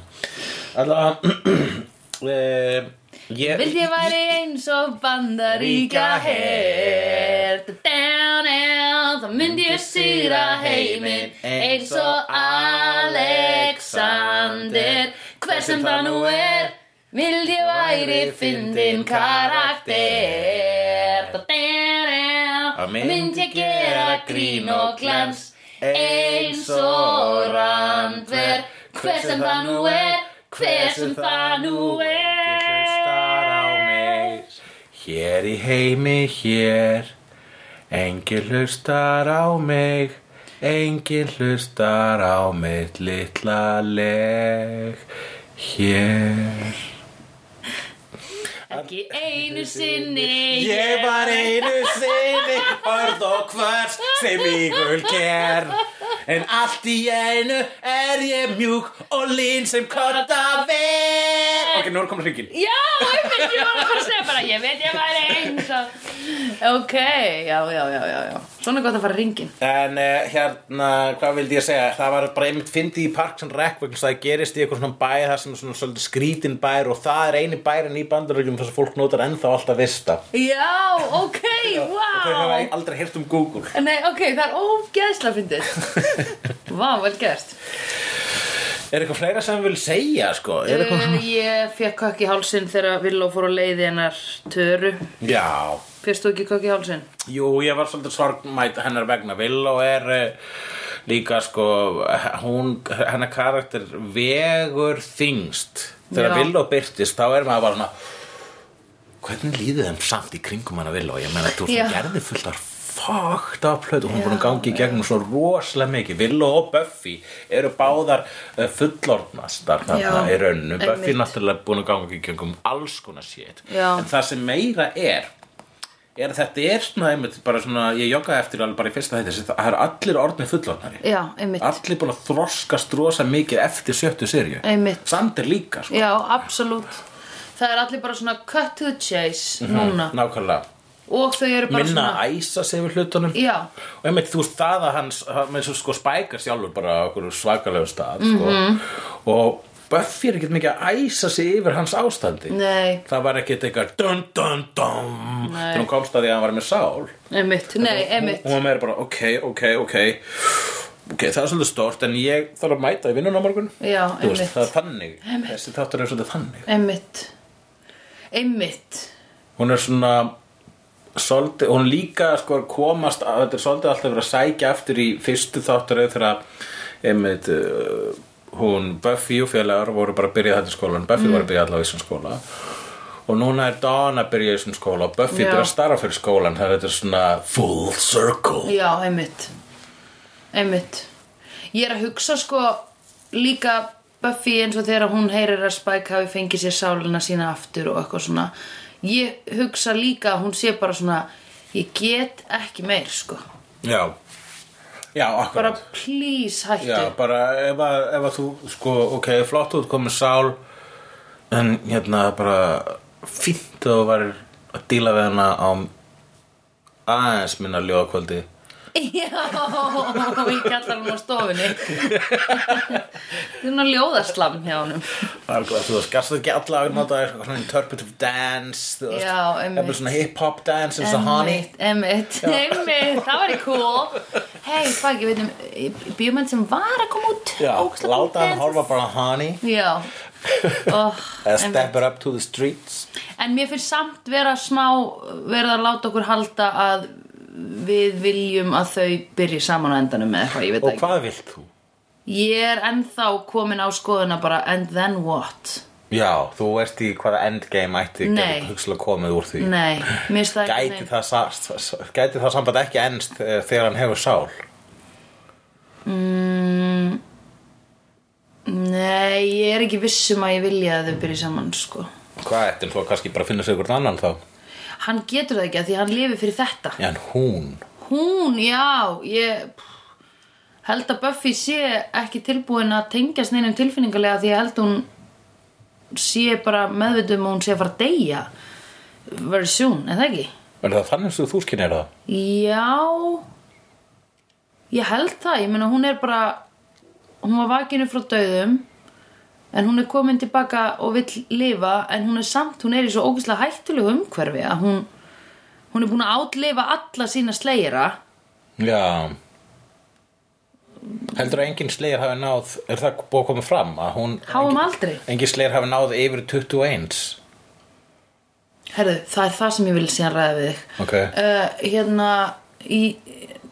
Alla eh, Ég
Vildi ég væri eins og bandaríka her Down and þá myndi ég sigra heiminn Eins og Alexander Hver sem það nú er Vildi ég væri fyndin karakter Down and þá myndi ég gera grín og glans Eins og randver Hver sem það nú er Hver sem það nú
Ég hlustar á
er
mig Hér í heimi hér Engin hlustar á mig Engin hlustar á mitt litla leg Hér
Ekki einu sinni
Ég var einu sinni hörð og hvers sem ígul ger En allt í einu er ég mjúk og lín sem kotta ver Ok, nú er komin hringin
Já, einmitt, ég var að fara að segja bara Ég veit ég væri eins og Ok, já, já, já, já, já Svona er gott að fara ringin
En uh, hérna, hvað vildi ég segja? Það var bara einmitt fyndi í Parks and Rec vegna þess að það gerist í eitthvað svona bæ það sem er svona svolítið skrítin bær og það er eini bærin í bandaríkjum þess að fólk notar ennþá alltaf vista
Já, ok,
Þau hafa
wow
aldrei heyrt um Google
Nei, ok, það er ógeðsla fyndið Vá, vel gert
Er eitthvað fleira sem vil segja, sko? Er eitthvað
uh, Ég fekk kökk í hálsinn þegar Villó fór á leiði hennar töru
Já
Fyrst þú ekki kökk í hálsinn?
Jú, ég var svolítið sorgmætt hennar vegna Villó er uh, líka sko hún, hennar karakter vegur þingst þegar
Já.
Villó byrtist þá er maður bara svona hvernig líðið þeim samt í kringum hana Villó ég meina þú
Já.
svona gerði fullt af fucked up hlut og hún er búin að gangi í gegnum svo rosalega mikið Villó og Buffy eru báðar uh, fullorðnastar þarna í
Já,
rauninu Buffy
einmitt.
náttúrulega búin að gangi í gegnum alls konar shit
Já.
en það sem meira er er að þetta er svona einmitt bara svona, ég joggaði eftir alveg bara í fyrsta þetta það er allir orðnir fullorðnari
Já, einmitt
allir búin að þroskast rosa mikið eftir sjöttu serju
Einmitt.
samt er líka sko.
Já, absolutt Það er allir bara svona cut to the chase núna
nákvæmlega,
Og þau eru bara
Mhm. minna
svona
að æsa sig við hlutunum
Já.
og einmitt þú veist það að hans hann- með svo sko spækar sjálfur bara á okkur svakalegu stað sko.
Mhm.
og Buffy er ekkert mikið að æsa sig yfir hans ástandi
Nei,
það var ekkert eitthvað dun dun dun
Nei.
þegar hún komst að því að hann var með sál
einmitt, nei, einmitt
og hún er bara ok, ok, ok ok, það er svolítið stort en ég þarf að mæta í vinnun á morgun
Já,
Þú veist,
einmitt.
það er þannig, þessi þáttur er svolítið þannig
Einmitt Einmitt
hún er svona svolítið, hún líka sko er komast að þetta er svolítið alltaf verið að sækja aftur í fyrstu þáttur eða þegar einmitt uh, hún Buffy og félagar voru bara að byrja þetta í skólan
Mm.
Buffy var að byrja allavega í þessum skóla og núna er Dawn að byrja í þessum skóla og Buffy
Já.
byrja að starfa fyrir skólan þannig að þetta er svona full circle
Já, einmitt Einmitt Ég er að hugsa sko líka Buffy eins og þegar hún heyrir að Spike hafi fengið sér sálina sína aftur og eitthvað svona Ég hugsa líka að hún sé bara svona Ég get ekki meir sko
já, já, akkurat
Bara please hættu
Já, bara ef að, ef að þú, sko, ok, flott út komið sál en hérna bara fínt að þú var að díla við hana á aðeins minna ljóðakvöldi
Já, ég kallar hún á stofinni Þú erum að ljóðaslam hjá honum
Alglega, þú veist, gæst ekki alla að nota eitthvað svona interpretive dance þú veist,
Já, einmitt.
eitthvað svona hip-hop dance eins og honey
Emmitt, emmitt, það var í cool Hei, fuck, ég veit um bíómynd sem var að koma út
Já,
ógeðslega
láta
cool
hann
dance.
horfa bara á honey
Já oh,
eða
en,
step her up to the streets
en mér finnst samt vera smá verið að láta okkur halda að við viljum að þau byrji saman á endanum með eitthvað, ég veit það
Og hvað vilt þú?
ekki Ég er ennþá komin á skoðuna bara and then what?
Já, þú veist í hvaða endgame ætti
Nei.
getur hugslega komið úr því
Nei, mér finnst það
gæti það, sa- sa- sa- gæti það samband ekki ennst eh, þegar hann hefur sál
Nei, ég er ekki viss um að ég vilja að þau byrji saman sko
hvað eftir þú að kannski bara finna sig ykkur annan þá
Hann getur það ekki að því hann lifi fyrir þetta
já en hún
Hún, já, ég held að Buffy sé ekki tilbúin að tengjast neinum tilfinningalega því ég held hún sé bara meðvituð um að hún sé að fara að deyja very soon, er það ekki?
er það þannig sem þú skynir það
Já, ég held það, ég meina hún er bara, hún var vakinu frá dauðum en hún er komin tilbaka og vill lifa en hún er samt, hún er í svo ógæslega hættulegu umhverfi að hún, hún er búin að átlifa alla sína slegjara
já heldur að engin slegir hafi náð er það búið að koma fram að hún
Háum
engin,
aldrei
engin slegir hafi náð yfir 21
Herðu, það er það sem ég vil síðan ræða við þig.
ok
Uh, hérna, í,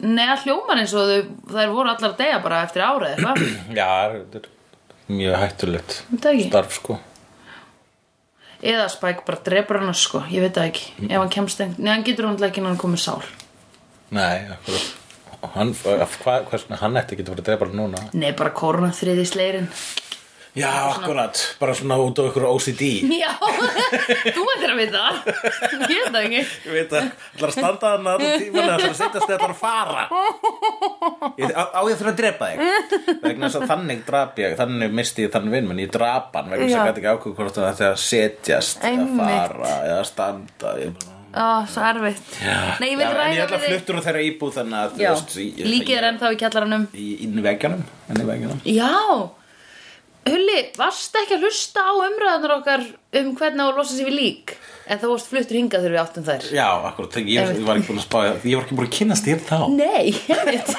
neða hljómar eins og þau, þær voru allar að deyja bara eftir árið, eitthvað.
já þetta er mjög hættulegt
Þetta ekki.
starf sko
Eða Spike bara drepur hann, sko, ég veit það ekki. Ef hann kemst einn, neða hann getur hann ekki en hann komið sál.
nei akkurat hann, af hvað, hvers, vegna hann ætti ekki að fara að drepa hann núna
Nei, bara korona þriði sleirin.
já akkurat bara svona út á ykkur OCD
Já, þú veitir að vita það. Ég veit það ekki.
Ég veit að ætlar að standa hann allan tíman Það ætlar að setjast þegar ætlar að fara ég, á, á ég þurfa að drepa þig Vegna þess að þannig drap ég Þannig misti ég þann vinn Menn ég drap hann Vegna þess
Já.
að ég gæti ekki ákveð hvort það ætti að setjast Eða
Einmitt.
fara Eða standa ég, bara-
Ó, svo erfitt. Nei, ég vil
Já, En ég
ræða
ætla að
við þig.
fluttur á þeirra íbúð Þannig að
Já,
ég-
líkið er ennþá í kjallaranum.
Í, inn í veggjunum Inn í veggjunum
Já Hulli, varst ekki að hlusta á umræðanar okkar um hvernig á að losa sér við lík en þá varst fluttur hingað þegar við áttum þær
Já, akkur, ég, ég var ekki búin að spá Ég var ekki búin að kynast þér þá
Nei, ég veit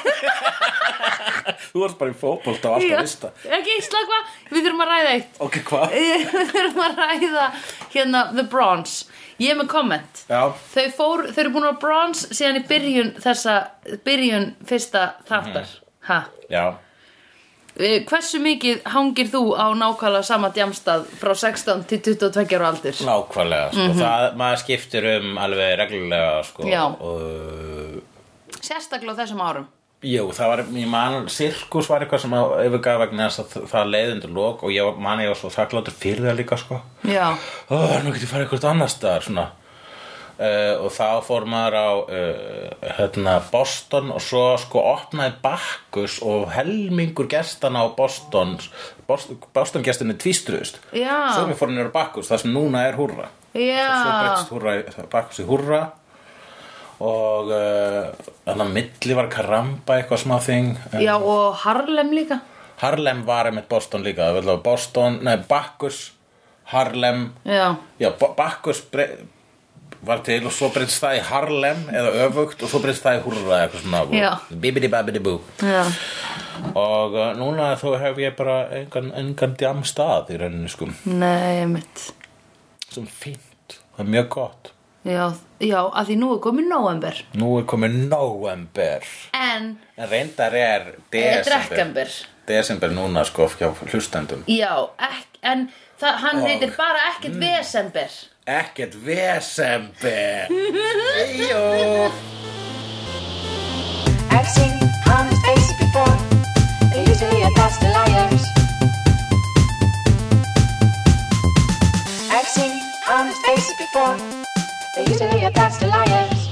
Þú varst bara í fótbolt á alltaf lista
Ekki, slagva, við þurfum að ræða eitt
Ok, hvað?
Við þurfum að ræða hérna The Bronze Ég er með komment
Já.
Þau, fór, þau eru búin að Bronze síðan í byrjun þessa byrjun fyrsta þáttar Ha?
Já
Eh, Hversu mikið hangir þú á nákvæmlega sama djamstað frá 16 til 22 ára aldur?
Nákvæmlega, sko, það, maður skiptir um alveg reglulega, sko
Mhm. Já.
og,
Sérstaklega á þessum árum
Jú, það var, ég man, sirkus var eitthvað sem að yfirgaf vegna þess að það- það leiðundur lók og ég var- man ég var svo þakkláttur fyrir það líka, sko
Já,
Ó, nú get ég farið eitthvað annars staðar, svona Uh, og þá fór maður á uh, hérna, Boston og svo sko opnaði Bakkus og helmingur gestana á Boston Boston, Boston gestinni tvístruðust
Já.
svo við fórum niður á Bakkus, það sem núna er húrra svo
já,
breytist húrra, bakkast í húrra og uh, þannig að milli var karamba eitthvað smá þing
já og Harlem líka
Harlem var einmitt Boston líka það var Boston, nei Bakkus Harlem,
Já,
já Ba- Bakkus brey- var til og svo breytist það í Harlem eða öfugt og svo breytist það í húrra eitthvað
Já.
svona bibidi babidi bú
já,
og uh, núna þó hef ég bara engan, engan djam stað í rauninni sko
nei, mitt
sem fínt, það er mjög gott
já, já, að því nú er komið november
Nú er komið november
en
En reyndar er
er
desember
drekkamber
Desember núna sko hjá hlustendum
já, ek, en það, hann
Og-
heitir bara ekkert vesember
Ekkert vesember Eyjó
I've seen honest faces before. They're usually a pass to liars. I've seen honest faces before. They're usually a pass to liars.